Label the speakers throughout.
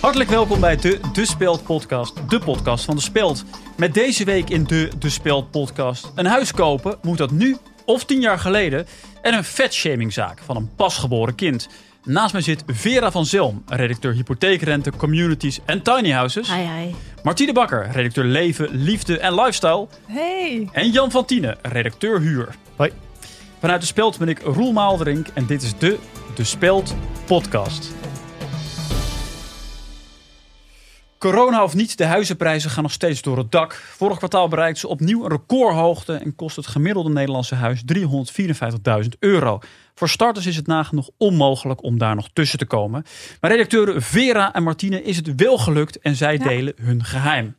Speaker 1: Hartelijk welkom bij de De Speld podcast, de podcast van De Speld. Met deze week in de De Speld podcast. Een huis kopen, moet dat nu of tien jaar geleden? En een vetshamingzaak van een pasgeboren kind. Naast mij zit Vera van Zelm, redacteur hypotheekrente, communities en tiny houses.
Speaker 2: Ai, ai.
Speaker 1: Martine Bakker, redacteur leven, liefde en lifestyle.
Speaker 2: Hey.
Speaker 1: En Jan van Tienen, redacteur huur.
Speaker 3: Hoi.
Speaker 1: Vanuit de Speld ben ik Roel Maalderink en dit is de De Speld podcast. Corona of niet, de huizenprijzen gaan nog steeds door het dak. Vorig kwartaal bereikten ze opnieuw een recordhoogte en kost het gemiddelde Nederlandse huis 354.000 euro. Voor starters is het nagenoeg onmogelijk om daar nog tussen te komen. Maar redacteuren Vera en Martine is het wel gelukt en zij
Speaker 2: Ja.
Speaker 1: delen hun geheim.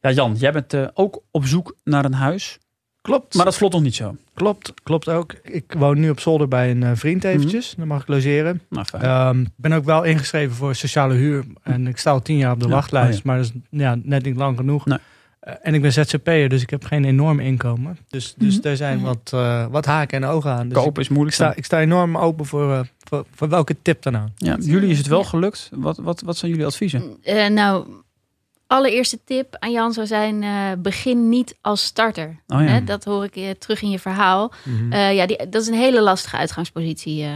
Speaker 1: Ja, Jan, jij bent eh, ook op zoek naar een huis,
Speaker 3: Klopt,
Speaker 1: maar dat vlot nog niet zo.
Speaker 3: klopt, klopt ook. Ik woon nu op zolder bij een eh,
Speaker 1: Mhm.
Speaker 3: vriend eventjes. Dan mag ik logeren.
Speaker 1: Nou, fijn.
Speaker 3: Ehm, Ik ben ook wel ingeschreven voor sociale huur. En ik sta al tien jaar op de
Speaker 1: Ja,
Speaker 3: wachtlijst.
Speaker 1: oh ja.
Speaker 3: Maar dat is ja, net niet lang genoeg.
Speaker 1: Nee.
Speaker 3: Eh, en ik ben zzp'er, dus ik heb geen enorm inkomen. Dus, dus
Speaker 1: Mhm.
Speaker 3: daar zijn wat, eh, wat haken en ogen aan. Dus ik,
Speaker 1: Kopen is moeilijk.
Speaker 3: sta, ik sta enorm open voor, eh, voor, voor welke tip dan ook.
Speaker 1: Ja, jullie is het wel
Speaker 2: Ja.
Speaker 1: gelukt. Wat, wat, wat zijn jullie adviezen?
Speaker 4: Mm,
Speaker 2: Eh, nou, allereerste tip aan Jan zou zijn: eh, begin niet als starter.
Speaker 1: Oh ja. Hm.
Speaker 2: Hè, dat hoor ik eh, terug in je verhaal.
Speaker 1: Mhm.
Speaker 2: Eh, ja, die, dat is een hele lastige uitgangspositie eh,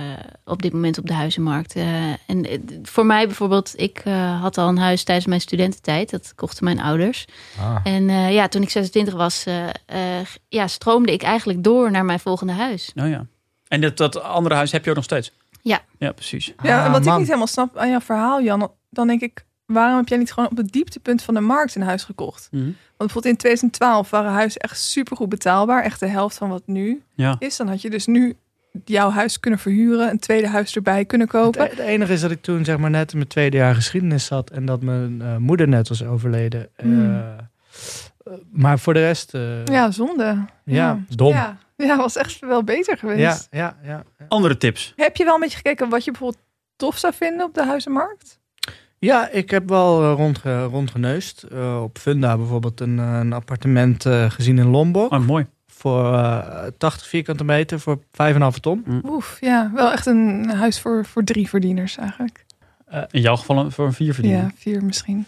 Speaker 2: op dit moment op de huizenmarkt. Eh, en eh, d- voor mij bijvoorbeeld, ik eh, had al een huis tijdens mijn studententijd. Dat kochten mijn ouders. En eh, ja, toen ik 26 was, eh, eh, g- ja, stroomde ik eigenlijk door naar mijn volgende huis.
Speaker 1: Nou ja. En dat, dat andere huis heb je ook nog steeds?
Speaker 2: Ja.
Speaker 1: Ja, precies.
Speaker 4: Ja, en wat ik
Speaker 3: Ah, man.
Speaker 4: niet helemaal snap aan jouw verhaal, Jan, dan denk ik, waarom heb jij niet gewoon op het dieptepunt van de markt een huis gekocht?
Speaker 1: Mhm.
Speaker 4: Want bijvoorbeeld in 2012 waren huizen echt supergoed betaalbaar, echt de helft van wat nu
Speaker 1: Ja.
Speaker 4: is. Dan had je dus nu jouw huis kunnen verhuren, een tweede huis erbij kunnen kopen.
Speaker 3: Het, het enige is dat ik toen zeg maar net in mijn tweede jaar geschiedenis zat en dat mijn eh, moeder net was overleden. Eh,
Speaker 4: Hmm.
Speaker 3: eh, maar voor de rest, eh, ja,
Speaker 4: Ja, zonde.
Speaker 3: dom. Ja,
Speaker 4: Ja. ja, was echt wel beter geweest.
Speaker 3: ja, ja, ja.
Speaker 1: Andere tips.
Speaker 4: Heb je wel een beetje gekeken wat je bijvoorbeeld tof zou vinden op de huizenmarkt?
Speaker 3: ik heb wel eh, rondge, rondgeneust. Eh, op Funda bijvoorbeeld een, eh, een appartement eh, gezien in Lombok
Speaker 1: Oh, mooi.
Speaker 3: voor eh, 80 vierkante meter voor 5,5 ton.
Speaker 4: Oef, ja, wel echt een huis voor, voor drie verdieners eigenlijk.
Speaker 1: In jouw geval een- voor een vier verdienen.
Speaker 4: Ja, vier misschien.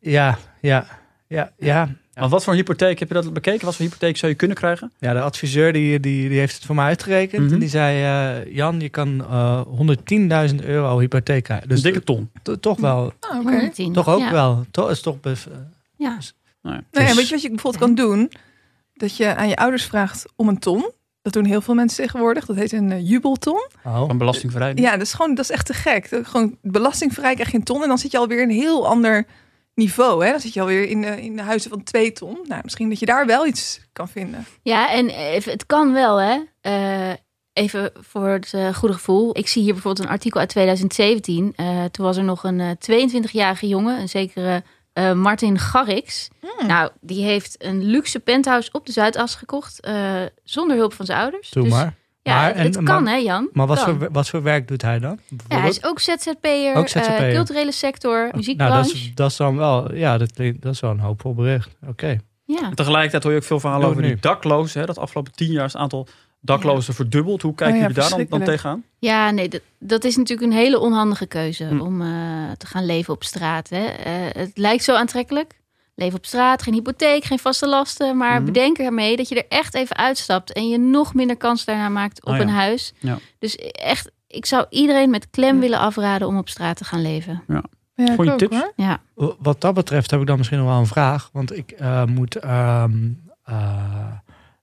Speaker 3: Ja, ja, ja, ja.
Speaker 1: Maar wat voor hypotheek heb je dat bekeken? Wat voor hypotheek zou je kunnen krijgen?
Speaker 3: Ja, de adviseur die, die, die heeft het voor mij uitgerekend.
Speaker 1: Mhm.
Speaker 3: En die zei, eh, Jan, je kan eh 110.0il euro hypotheek krijgen.
Speaker 1: Dus
Speaker 3: Dus
Speaker 1: dikke ton.
Speaker 3: to- toch wel
Speaker 4: Ah, Oké.
Speaker 2: 110.
Speaker 3: Toch ook
Speaker 2: ja.
Speaker 3: wel. Toch is toch eh, best.
Speaker 2: Ja.
Speaker 4: Nou ja,
Speaker 3: Dus-
Speaker 4: weet je wat je bijvoorbeeld kan doen? Dat je aan je ouders vraagt om een ton. Dat doen heel veel mensen tegenwoordig. Dat heet een eh, jubelton.
Speaker 3: Oh.
Speaker 1: Van belastingvrij.
Speaker 4: Ja, dat is gewoon dat is echt te gek. Dat, gewoon belastingvrij krijg je een ton. En dan zit je alweer in een heel ander niveau. Hè? Dan zit je alweer in de, in de huizen van twee ton. Nou, misschien dat je daar wel iets kan vinden.
Speaker 2: Ja, en even, het kan wel, hè? Eh, even voor het eh, goede gevoel. Ik zie hier bijvoorbeeld een artikel uit 2017. Eh, toen was er nog een eh, 22-jarige jongen, een zekere eh, Martin Garrix. Nou, die heeft een luxe penthouse op de Zuidas gekocht, eh, zonder hulp van zijn ouders.
Speaker 3: Doe
Speaker 2: Dus,
Speaker 3: maar.
Speaker 2: Ja,
Speaker 3: Maar,
Speaker 2: het,
Speaker 3: en-
Speaker 2: het kan,
Speaker 3: maar-
Speaker 2: hè, Jan?
Speaker 3: Maar wat
Speaker 2: Kan.
Speaker 3: voor, wat voor werk doet hij dan?
Speaker 2: Ja, hij
Speaker 3: Bijvoorbeeld?
Speaker 2: is ook ZZP'er,
Speaker 3: Ook ZZP'er.
Speaker 2: eh, culturele sector, muziekbranche.
Speaker 3: nou, dat is, dat is dan wel. Ja, dat, klinkt- dat is wel een hoopvol bericht. Oké.
Speaker 2: Ja.
Speaker 1: En tegelijkertijd hoor je ook veel verhalen
Speaker 3: Doe
Speaker 1: over
Speaker 3: het
Speaker 1: die daklozen. Hè? Dat afgelopen tien jaar is het aantal daklozen verdubbeld. Hoe kijken
Speaker 4: Oh ja,
Speaker 1: jullie daar dan, dan
Speaker 4: verschrikkelijk.
Speaker 1: tegenaan?
Speaker 2: Ja, nee, dat, dat is natuurlijk een hele onhandige keuze
Speaker 1: Hm.
Speaker 2: om eh, te gaan leven op straat. Hè. Eh, het lijkt zo aantrekkelijk. Leven op straat, geen hypotheek, geen vaste lasten. Maar
Speaker 1: Mhm.
Speaker 2: bedenk ermee dat je er echt even uitstapt en je nog minder kans daarna maakt op
Speaker 1: Ah, ja.
Speaker 2: een huis.
Speaker 1: Ja.
Speaker 2: Dus echt, ik zou iedereen met klem
Speaker 4: Hm.
Speaker 2: willen afraden om op straat te gaan leven.
Speaker 4: Ja, ik
Speaker 1: Goeie
Speaker 4: ook,
Speaker 1: tips.
Speaker 4: hoor.
Speaker 2: Ja,
Speaker 3: W- Wat dat betreft heb ik dan misschien nog wel een vraag. Want ik eh, moet. ehm, eh,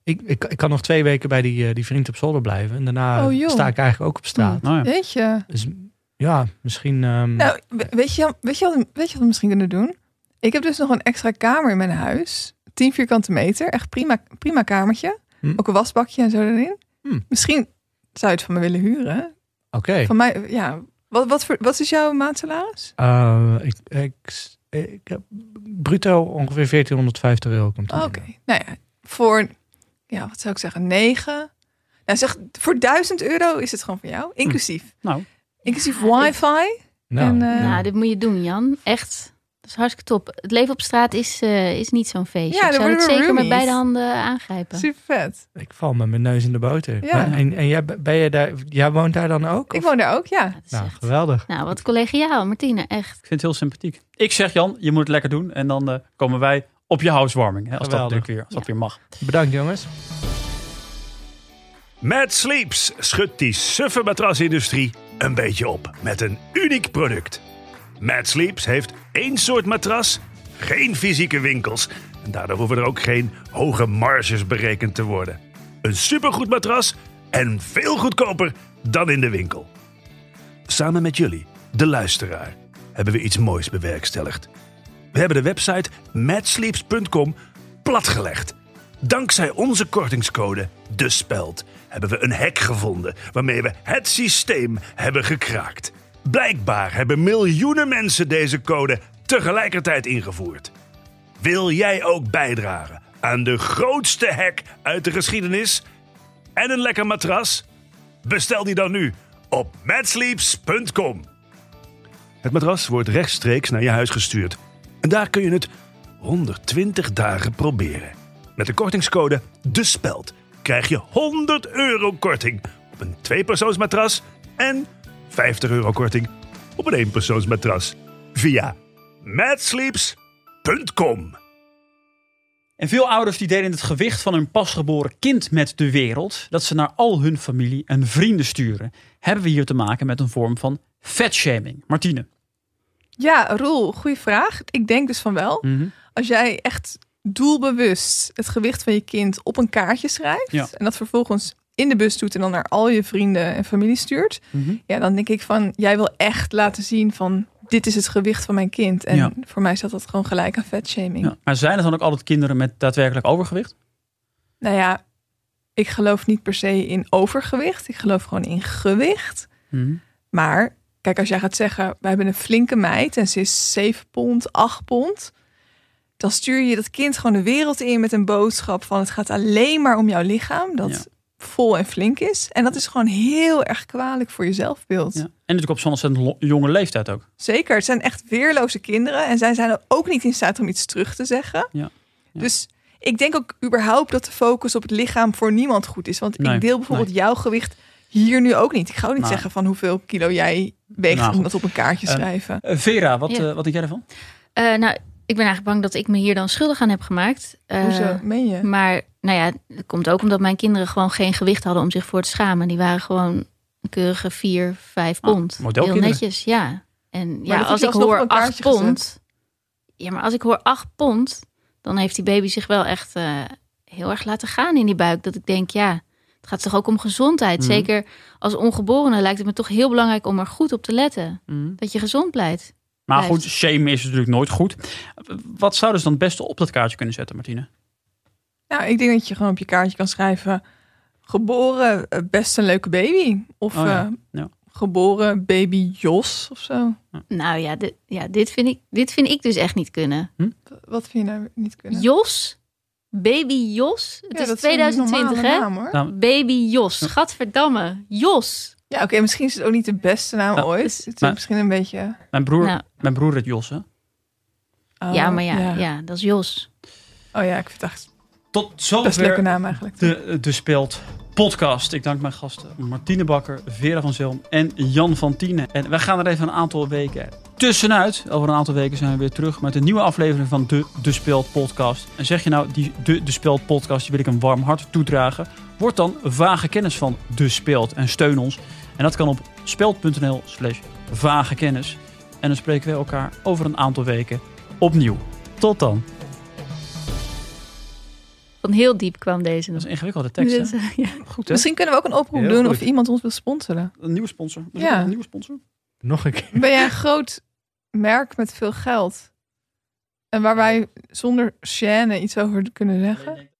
Speaker 3: ik, ik, ik kan nog twee weken bij die, eh, die vriend op zolder blijven. En daarna
Speaker 4: Oh, joh.
Speaker 3: sta ik eigenlijk ook op straat.
Speaker 1: Nou ja.
Speaker 4: Weet je?
Speaker 3: Dus ja, misschien. ehm,
Speaker 4: Nou, we- weet je, weet, je wat, weet je wat we misschien kunnen doen? Ik heb dus nog een extra kamer in mijn huis. 10 vierkante meter. Echt prima, prima kamertje.
Speaker 3: Hm.
Speaker 4: Ook een wasbakje en zo erin.
Speaker 3: Hm.
Speaker 4: Misschien zou je het van me willen huren.
Speaker 3: Oké.
Speaker 4: Van mij, ja. Wat, wat, voor, wat is jouw maandsalaris?
Speaker 3: Eh, ik, ik, ik heb bruto ongeveer 1450 euro komt er
Speaker 4: Oké. Nou ja, voor, ja, wat zou ik zeggen, 9. Nou zeg, voor 1000 euro is het gewoon van jou. Inclusief.
Speaker 1: Nou,
Speaker 4: Inclusief
Speaker 2: Ja,
Speaker 4: wifi.
Speaker 3: Nou,
Speaker 4: En, eh,
Speaker 3: ja.
Speaker 2: nou, dit moet je doen, Jan. Echt. Dat is hartstikke top. Het leven op straat is, eh, is niet zo'n feestje.
Speaker 4: Ja,
Speaker 2: ik
Speaker 4: dan
Speaker 2: zou
Speaker 4: worden
Speaker 2: het
Speaker 4: we
Speaker 2: zeker met
Speaker 4: roomies.
Speaker 2: beide handen aangrijpen.
Speaker 4: Super vet.
Speaker 3: Ik val met mijn neus in de boter.
Speaker 4: Ja.
Speaker 3: Maar- En, en jij, ben jij, daar, jij woont daar dan ook?
Speaker 4: Ik
Speaker 3: of?
Speaker 4: woon daar ook, ja.
Speaker 2: Ja, dat is
Speaker 3: Nou,
Speaker 2: echt-
Speaker 3: geweldig.
Speaker 2: nou, wat collegiaal, Martine, echt.
Speaker 1: Ik vind het heel sympathiek. Ik zeg Jan, je moet het lekker doen. En dan eh, komen wij op je housewarming. Hè, als dat
Speaker 3: Geweldig.
Speaker 1: natuurlijk weer, als dat weer mag.
Speaker 3: Bedankt jongens.
Speaker 5: Mad Sleeps schudt die suffe matrasindustrie een beetje op met een uniek product. Mad Sleeps heeft één soort matras, geen fysieke winkels. En daardoor hoeven er ook geen hoge marges berekend te worden. Een supergoed matras en veel goedkoper dan in de winkel. Samen met jullie, de luisteraar, hebben we iets moois bewerkstelligd. We hebben de website madsleeps.com platgelegd. Dankzij onze kortingscode De Speld hebben we een hack gevonden waarmee we het systeem hebben gekraakt. Blijkbaar hebben miljoenen mensen deze code tegelijkertijd ingevoerd. Wil jij ook bijdragen aan de grootste hack uit de geschiedenis? En een lekker matras? Bestel die dan nu op madsleeps.com. Het matras wordt rechtstreeks naar je huis gestuurd. En daar kun je het 120 dagen proberen. Met de kortingscode De Speld krijg je 100 euro korting op een tweepersoonsmatras en 50 euro korting op een eenpersoonsmatras via madsleeps.com.
Speaker 1: En veel ouders die delen het gewicht van hun pasgeboren kind met de wereld. Dat ze naar al hun familie en vrienden sturen. Hebben we hier te maken met een vorm van vetshaming. Martine.
Speaker 4: Ja, Roel, goede vraag. Ik denk dus van wel. Als jij echt doelbewust het gewicht van je kind op een kaartje schrijft
Speaker 1: Ja.
Speaker 4: en dat vervolgens in de bus doet en dan naar al je vrienden en familie stuurt,
Speaker 1: Mhm.
Speaker 4: ja, dan denk ik van jij wil echt laten zien van dit is het gewicht van mijn kind en
Speaker 1: Ja.
Speaker 4: voor mij staat dat gewoon gelijk aan vetshaming.
Speaker 1: Ja. Maar zijn het dan ook altijd kinderen met daadwerkelijk overgewicht?
Speaker 4: Nou ja, ik geloof niet per se in overgewicht. Ik geloof gewoon in gewicht. Maar kijk, als jij gaat zeggen, we hebben een flinke meid en ze is 7 pond, 8 pond. Dan stuur je dat kind gewoon de wereld in met een boodschap van het gaat alleen maar om jouw lichaam. Dat
Speaker 1: Ja.
Speaker 4: vol en flink is. En dat is gewoon heel erg kwalijk voor je zelfbeeld.
Speaker 1: Ja. En natuurlijk op zo'n ontzettend lo- jonge leeftijd ook.
Speaker 4: Zeker, het zijn echt weerloze kinderen. En zij zijn ook niet in staat om iets terug te zeggen.
Speaker 1: Ja, ja.
Speaker 4: Dus ik denk ook überhaupt dat de focus op het lichaam voor niemand goed is. Want
Speaker 1: Nee,
Speaker 4: ik wil bijvoorbeeld jouw gewicht hier nu ook niet. Ik ga ook niet
Speaker 1: Nou.
Speaker 4: zeggen van hoeveel kilo jij weegt
Speaker 1: Nou,
Speaker 4: om dat op een kaartje
Speaker 1: Eh,
Speaker 4: schrijven.
Speaker 1: Eh, Vera, wat,
Speaker 2: Ja.
Speaker 1: eh, wat denk jij daarvan?
Speaker 2: Eh, nou, ik ben eigenlijk bang dat ik me hier dan schuldig aan heb gemaakt. Eh,
Speaker 4: Hoezo, meen je?
Speaker 2: Maar nou ja, dat komt ook omdat mijn kinderen gewoon geen gewicht hadden om zich voor te schamen. Die waren gewoon een keurige 4, 5
Speaker 1: Ah,
Speaker 2: pond. Heel
Speaker 1: modelkinderen.
Speaker 2: netjes, ja. En ja,
Speaker 4: dat heb
Speaker 2: als
Speaker 4: je
Speaker 2: ik
Speaker 4: alsnog op
Speaker 2: hoor
Speaker 4: een
Speaker 2: 8
Speaker 4: kaartje gezet.
Speaker 2: pond. Ja, maar als ik hoor 8 pond, dan heeft die baby zich wel echt eh, heel erg laten gaan in die buik. Dat ik denk, ja, het gaat toch ook om gezondheid.
Speaker 1: Mhm.
Speaker 2: Zeker als ongeborene lijkt het me toch heel belangrijk om er goed op te letten. Dat je gezond blijft.
Speaker 1: Maar
Speaker 2: Blijft.
Speaker 1: goed, shame is natuurlijk nooit goed. Wat zouden ze dan het beste op dat kaartje kunnen zetten, Martine?
Speaker 4: Nou, ik denk dat je gewoon op je kaartje kan schrijven... geboren eh, best een leuke baby. Of
Speaker 1: Oh ja,
Speaker 4: eh,
Speaker 1: ja.
Speaker 4: geboren baby Jos of zo.
Speaker 2: Nou ja, dit, ja dit, vind ik, dit vind ik dus echt niet kunnen.
Speaker 4: Wat vind je nou niet kunnen?
Speaker 2: Jos? Baby Jos? Het
Speaker 4: Ja,
Speaker 2: is
Speaker 4: dat een
Speaker 2: 2020,
Speaker 4: normale
Speaker 2: hè?
Speaker 4: naam, hoor.
Speaker 1: Nou,
Speaker 2: Baby Jos. Gadverdamme. Jos.
Speaker 4: Ja, oké, misschien is het ook niet de beste naam
Speaker 1: Nou,
Speaker 4: ooit.
Speaker 2: dus-
Speaker 4: Het is
Speaker 1: maar-
Speaker 4: misschien een beetje.
Speaker 1: mijn, broer,
Speaker 2: Nou.
Speaker 1: mijn broer het Josse.
Speaker 4: oh,
Speaker 2: ja, maar ja, ja. dat is Jos.
Speaker 4: Oh ja, ik vind het echt
Speaker 1: Tot
Speaker 4: best een
Speaker 1: zover
Speaker 4: leuke naam eigenlijk.
Speaker 1: de, de Speld podcast. Ik dank mijn gasten Martine Bakker, Vera van Zelm en Jan van Tienen. En wij gaan er even een aantal weken tussenuit. Over een aantal weken zijn we weer terug met een nieuwe aflevering van de De Speld podcast. En zeg je nou, die de, de Speld podcast, die wil ik een warm hart toedragen. Word dan vage kennis van De Speld en steun ons. En dat kan op speld.nl slash vage kennis. En dan spreken we elkaar over een aantal weken opnieuw. Tot dan.
Speaker 2: Van heel diep kwam deze
Speaker 1: Dat
Speaker 2: nog.
Speaker 1: is een ingewikkelde tekst, hè?
Speaker 2: Dus, eh, ja.
Speaker 1: Goed, hè?
Speaker 4: Misschien kunnen we ook een oproep
Speaker 3: Heel
Speaker 4: doen
Speaker 3: goed.
Speaker 4: of iemand ons wil sponsoren.
Speaker 1: Een nieuwe sponsor. We
Speaker 4: Ja.
Speaker 1: zoeken Een nieuwe sponsor.
Speaker 3: Nog een keer.
Speaker 4: Ben jij een groot merk met veel geld? En waar wij zonder chaîne iets over kunnen zeggen?